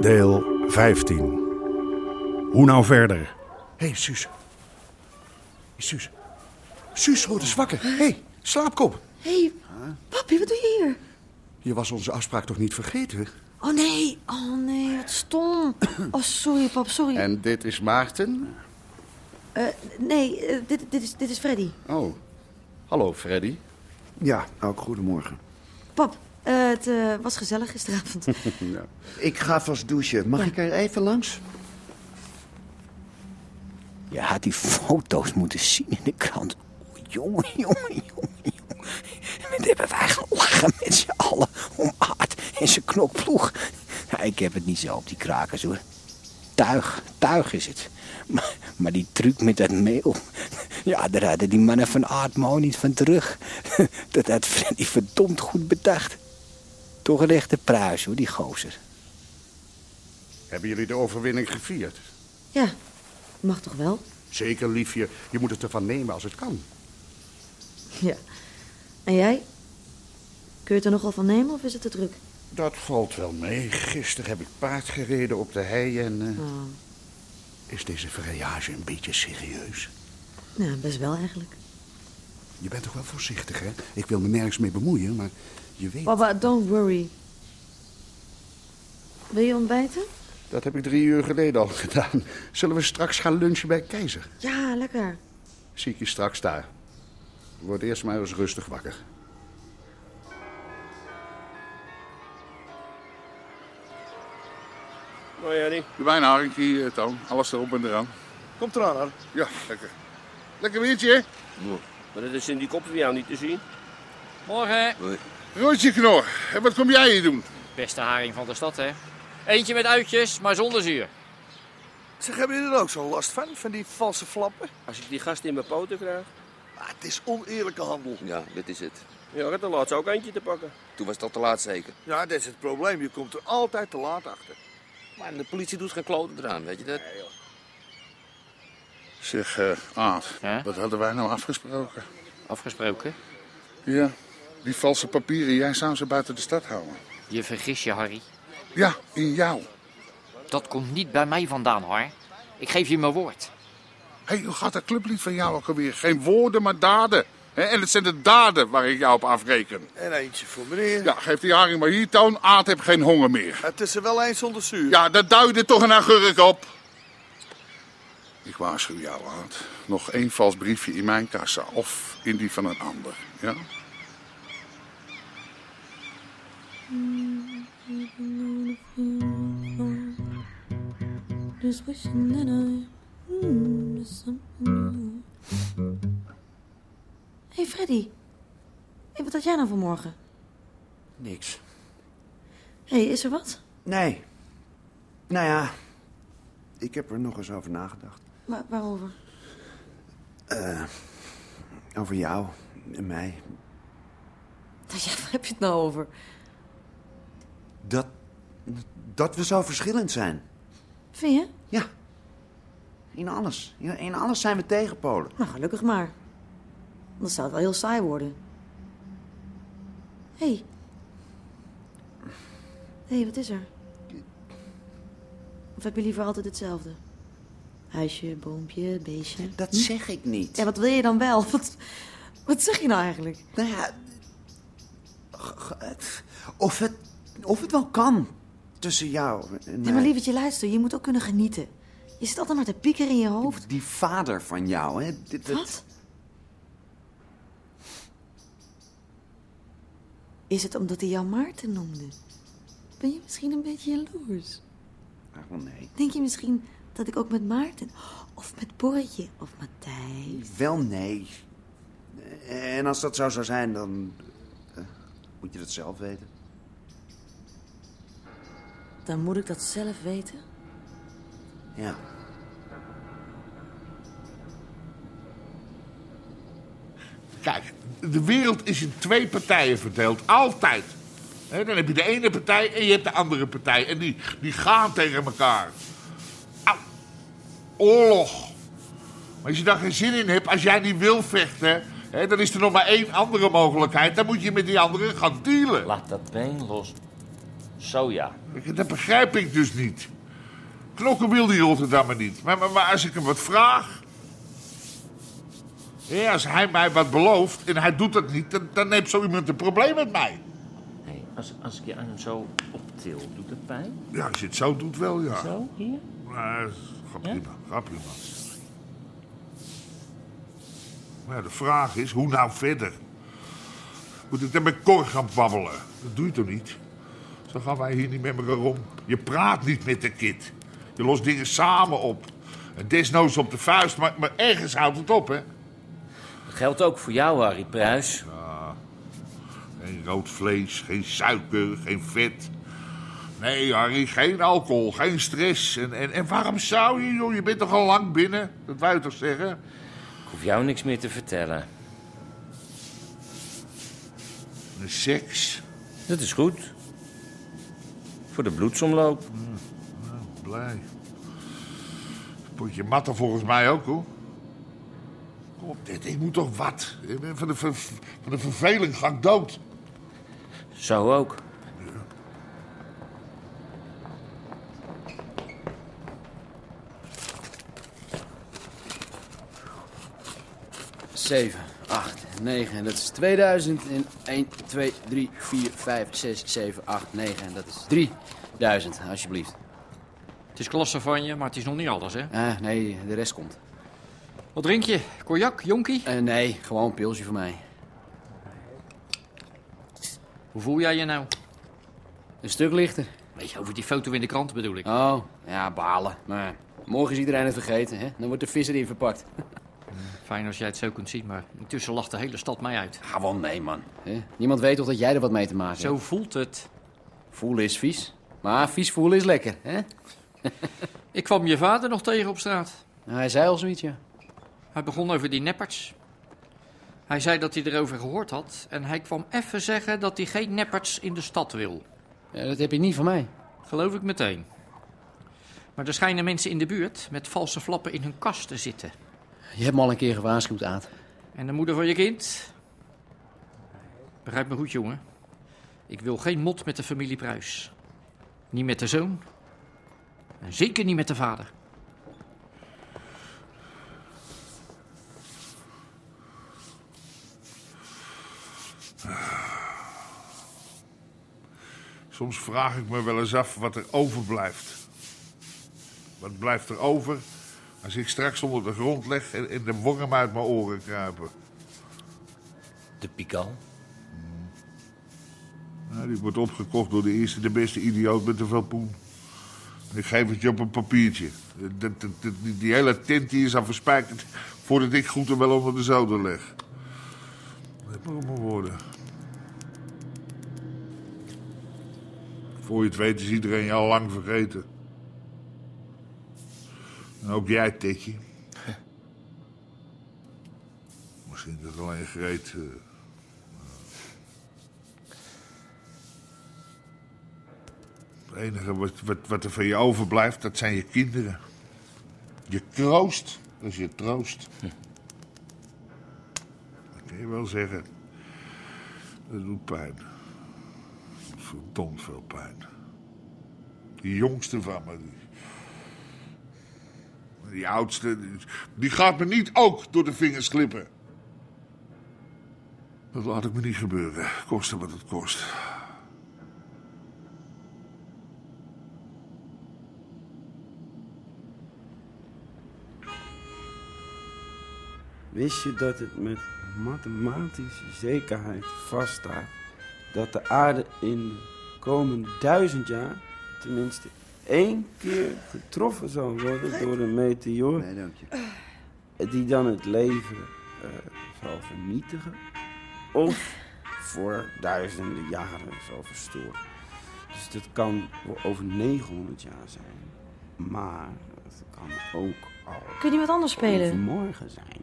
Deel 15. Hoe nou verder? Hé, hey, Suus. Suus. Suus wordt eens wakker. Hé, hey, slaapkop. Hé, hey, papi, wat doe je hier? Je was onze afspraak toch niet vergeten? Oh nee, oh nee, wat stom. Oh, sorry, pap, sorry. En dit is Maarten. Eh, nee, eh, dit, dit, is, dit is Freddy. Oh, hallo Freddy. Ja, ook goedemorgen. Pap, eh, het eh, was gezellig gisteravond. Ja. Ik ga vast douchen. Mag ik er even langs? Je had die foto's moeten zien in de krant. Oh, jongen, jongen, jongen, jongen. Wat hebben wij gelachen met z'n allen om Aard en zijn knokploeg. Nou, ik heb het niet zo op die krakers hoor. Tuig, tuig is het. Maar, maar die truc met dat meel. Ja, daar hadden die mannen van Aard maar ook niet van terug. Dat had Freddy verdomd goed bedacht. Toch een echte pruis hoor, die gozer. Hebben jullie de overwinning gevierd? Ja, mag toch wel? Zeker, liefje. Je moet het ervan nemen als het kan. Ja. En jij? Kun je het er nogal van nemen of is het te druk? Dat valt wel mee. Gisteren heb ik paard gereden op de hei en... eh, Oh, Is deze vrijage een beetje serieus? ja, Nou, best wel eigenlijk. Je bent toch wel voorzichtig, hè? Ik wil me nergens mee bemoeien, maar je weet... Papa, don't worry. Wil je ontbijten? Dat heb ik drie uur geleden al gedaan. Zullen we straks gaan lunchen bij Keizer? Ja, lekker. Zie ik je straks daar. Word eerst maar eens rustig wakker. Hoi Henny. De wijnharing, die eh, Toon. Alles erop en eraan. Komt eraan, hoor. Ja, lekker. Lekker biertje, hè? Maar dat is in die kop van jou niet te zien. Morgen, Roodje knor. En wat kom jij hier doen? beste haring van de stad, hè? Eentje met uitjes, maar zonder zuur. Zeg, hebben jullie er ook zo'n last van, van die valse flappen? Als ik die gast in mijn poten krijg. Ah, het is oneerlijke handel. Ja, dit is het. Ja, ik had er laatst ook eentje te pakken. Toen was dat te laat zeker. Ja, dat is het probleem. Je komt er altijd te laat achter. Maar de politie doet geen kloten eraan, weet je dat? Zeg, eh Aad. Ja? Wat hadden wij nou afgesproken? Afgesproken. Ja, die valse papieren. Jij zou ze buiten de stad houden. Je vergis je, Harry. Ja, in jou. Dat komt niet bij mij vandaan, hoor. Ik geef je mijn woord. Hé, hoe gaat dat clublied van jou ook alweer? Geen woorden, maar daden. Hè, en het zijn de daden waar ik jou op afreken. En eentje voor meneer. Ja, geef die haring maar hier, Toon. Aad heeft geen honger meer. Het is er wel eens zonder zuur. Ja, dat duidde toch een agurk op. Ik waarschuw jou, Aad. Nog één vals briefje in mijn kassa of in die van een ander. Ja? Hé, hey, Freddy. Hey, wat had jij nou vanmorgen? Niks. Hé, hey, is er wat? Nee. Nou ja, ik heb er nog eens over nagedacht. Wa- waarover? Over jou en mij. Nou Ja, waar heb je het nou over? Dat, dat we zo verschillend zijn. Vind je? Ja. In alles. Ja, In alles zijn we tegenpolen. Nou, gelukkig maar. Anders zou het wel heel saai worden. Hé. Hey. Hé, hey, wat is er? Of heb je liever altijd hetzelfde? Huisje, boompje, beestje. Dat zeg ik niet. Ja, wat wil je dan wel? Wat, wat zeg je nou eigenlijk? Nou ja... g- g- Of het, of het wel kan. Tussen jou en Nee, mij. maar lievertje, luister. Je moet ook kunnen genieten. Je zit altijd maar te piekeren in je hoofd. Die vader van jou, hè? Dit- dit- Wat? Is het omdat hij jou Maarten noemde? Ben je misschien een beetje jaloers? Ach, Ah, wel nee. Denk je misschien dat ik ook met Maarten of met Borretje of Matthijs... Wel nee. En als dat zo zou zijn, dan eh, moet je dat zelf weten. Dan moet ik dat zelf weten. Ja. Kijk, de wereld is in twee partijen verdeeld. Altijd. Hè, dan heb je de ene partij en je hebt de andere partij. En die, die gaan tegen elkaar. Au. Oorlog. Maar als je daar geen zin in hebt, als jij niet wil vechten... Hè, dan is er nog maar één andere mogelijkheid. Dan moet je met die andere gaan dealen. Laat dat been los. Zo ja. Dat begrijp ik dus niet. Knokken wil die Rotterdammer niet. Maar, maar, maar als ik hem wat vraag... Ja, als hij mij wat belooft en hij doet dat niet, dan, dan heeft zo iemand een probleem met mij. Hey, als, als ik je aan hem zo optil, doet het pijn? Ja, als je het zo doet wel, ja. Zo, hier? Maar gaat prima, gaat prima. Maar ja, de vraag is, hoe nou verder? Moet ik dan met Cor gaan babbelen? Dat doe je toch niet? Zo gaan wij hier niet met elkaar om. Je praat niet met de kid. Je lost dingen samen op. En desnoods op de vuist, maar, maar ergens houdt het op, hè? Dat geldt ook voor jou, Harry Pruis. Ja. Geen rood vlees, geen suiker, geen vet. Nee, Harry, geen alcohol, geen stress. En, en, en waarom zou je, joh? Je bent toch al lang binnen? Dat wou je toch zeggen? Ik hoef jou niks meer te vertellen. De seks? Dat is goed. Voor de bloedsomloop. Mm, Blij. Potje matten volgens mij ook, hoor. Kom op, dit, ik moet toch wat? Ik ben Van de, ver- van de verveling ga ik dood. Zo ook. Zeven, acht, negen. En dat is 2000. En 1, 2, 3, 4, 5, 6, 7, 8, 9. En dat is 3000, alsjeblieft. Het is klasse van je, maar het is nog niet alles, hè? Ah, nee, de rest komt. Eh, Wat drink je? Cognac, jonkie? nee, gewoon een pilsje voor mij. Hoe voel jij je nou? Een stuk lichter. Weet je, over die foto in de krant bedoel ik. Oh, ja, balen. Maar morgen is iedereen het vergeten, hè? Dan wordt de vis erin verpakt. Fijn als jij het zo kunt zien, maar intussen lacht de hele stad mij uit. Ah, wel nee, man. Hè? Niemand weet toch dat jij er wat mee te maken hebt? Zo voelt het. Voelen is vies. Maar vies voelen is lekker, hè? Ik kwam je vader nog tegen op straat. Nou, Hij zei al zoiets, ja. Hij begon over die neppers. Hij zei dat hij erover gehoord had en hij kwam even zeggen dat hij geen neppers in de stad wil. Ja, dat heb je niet van mij. Geloof ik meteen. Maar er schijnen mensen in de buurt met valse flappen in hun kast te zitten. Je hebt me al een keer gewaarschuwd, Aad. En de moeder van je kind? Begrijp me goed, jongen. Ik wil geen mot met de familie Pruis. Niet met de zoon. En zeker niet met de vader. Soms vraag ik me wel eens af wat er overblijft. Wat blijft er over als ik straks onder de grond leg en, en de worm uit mijn oren kruipen? De pikal? Nou, die wordt opgekocht door de eerste, de beste idioot met te veel poen. En ik geef het je op een papiertje. Dat- dat- dat- die, die hele tint die is al verspijkerd voordat ik goed en wel onder de zoden leg. Dat moet maar worden. Voor je het weet is iedereen je al lang vergeten. En ook jij, Tikje. Misschien dat alleen Greet... eh, Het enige wat, wat, wat er van je overblijft, dat zijn je kinderen. Je kroost, dat is je troost. Dat kun je wel zeggen. Dat doet pijn. Verdomd veel pijn. Die jongste van me, die, die oudste, die, die gaat me niet ook door de vingers glippen. Dat laat ik me niet gebeuren, koste wat het kost. Wist je dat het met mathematische zekerheid vaststaat dat de aarde in de komende duizend jaar, tenminste één keer getroffen zou worden door een meteoor. Nee, dank je. Die dan het leven eh, zal vernietigen. Of voor duizenden jaren zal verstoren. Dus dat kan wel over 900 jaar zijn. Maar het kan ook al Kun je wat anders spelen? overmorgen zijn.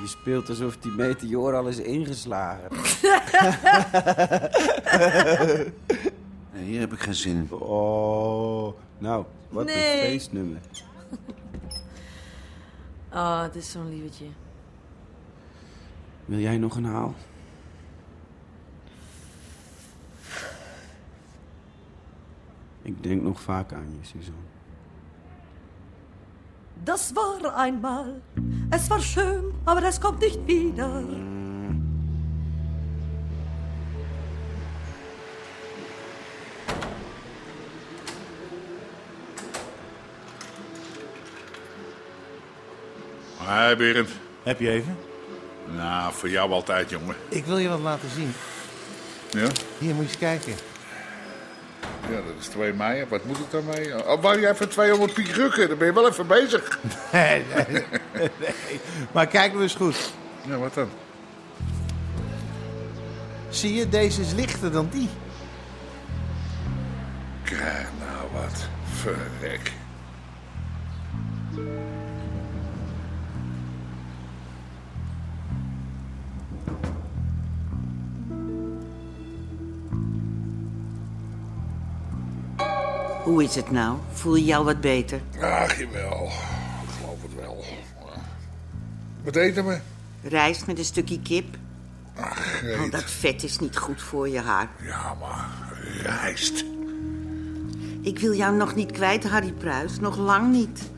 Je speelt alsof die meteoor al is ingeslagen. Nee, hier heb ik geen zin in. Oh, nou, wat Nee. een feestnummer. Oh, Ah, het is zo'n lievertje. Wil jij nog een haal? Ik denk nog vaak aan je, Suzanne. Das war einmal. Es war schön, aber es kommt nicht wieder. Hé, Berend. Heb je even? Nou, voor jou altijd, jongen. Ik wil je wat laten zien. Ja? Hier, moet je eens kijken. Ja, dat is 2 mei. Wat moet ik daarmee? Oh, wou jij even 200 piek rukken? Dan ben je wel even bezig. Nee, nee, nee. Maar kijk nou eens goed. Ja, wat dan? Zie je, deze is lichter dan die. Kijk nou wat. Verrek. Hoe is het nou? Voel je jou wat beter? Ach, jawel. Ik geloof het wel. Wat eten we? Rijst met een stukje kip. Oh, dat vet is niet goed voor je haar. Ja, maar rijst. Ik wil jou nog niet kwijt, Harry Pruis. Nog lang niet.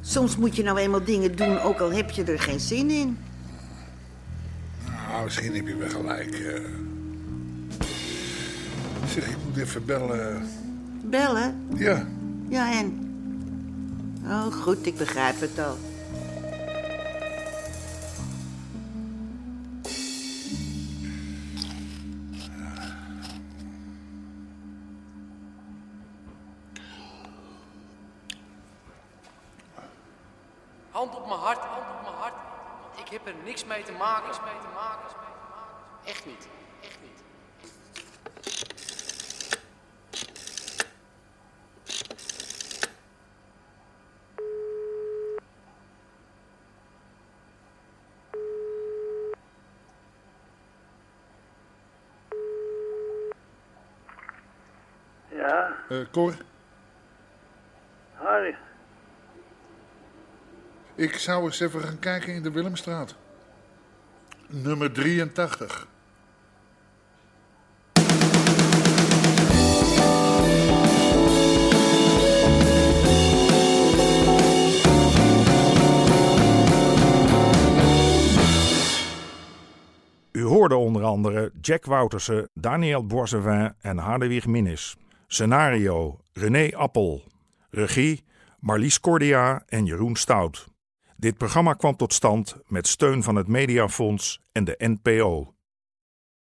Soms moet je nou eenmaal dingen doen, ook al heb je er geen zin in. Nou, misschien heb je wel gelijk. eh. Zeg, ik moet even bellen. Bellen? Ja. Ja, en? Oh, goed, ik begrijp het al. Hand op mijn hart, hand op mijn hart. Ik heb er niks mee te maken. Niks mee te maken. Echt niet. Echt niet. Ja, Eh Cor, Harry. ik zou eens even gaan kijken in de Willemstraat. Nummer 83. U hoorde onder andere Jack Woutersen, Daniel Boisevin en Hadewig Minnis. Scenario René Appel. Regie Marlies Cordia en Jeroen Stout. Dit programma kwam tot stand met steun van het Mediafonds en de NPO.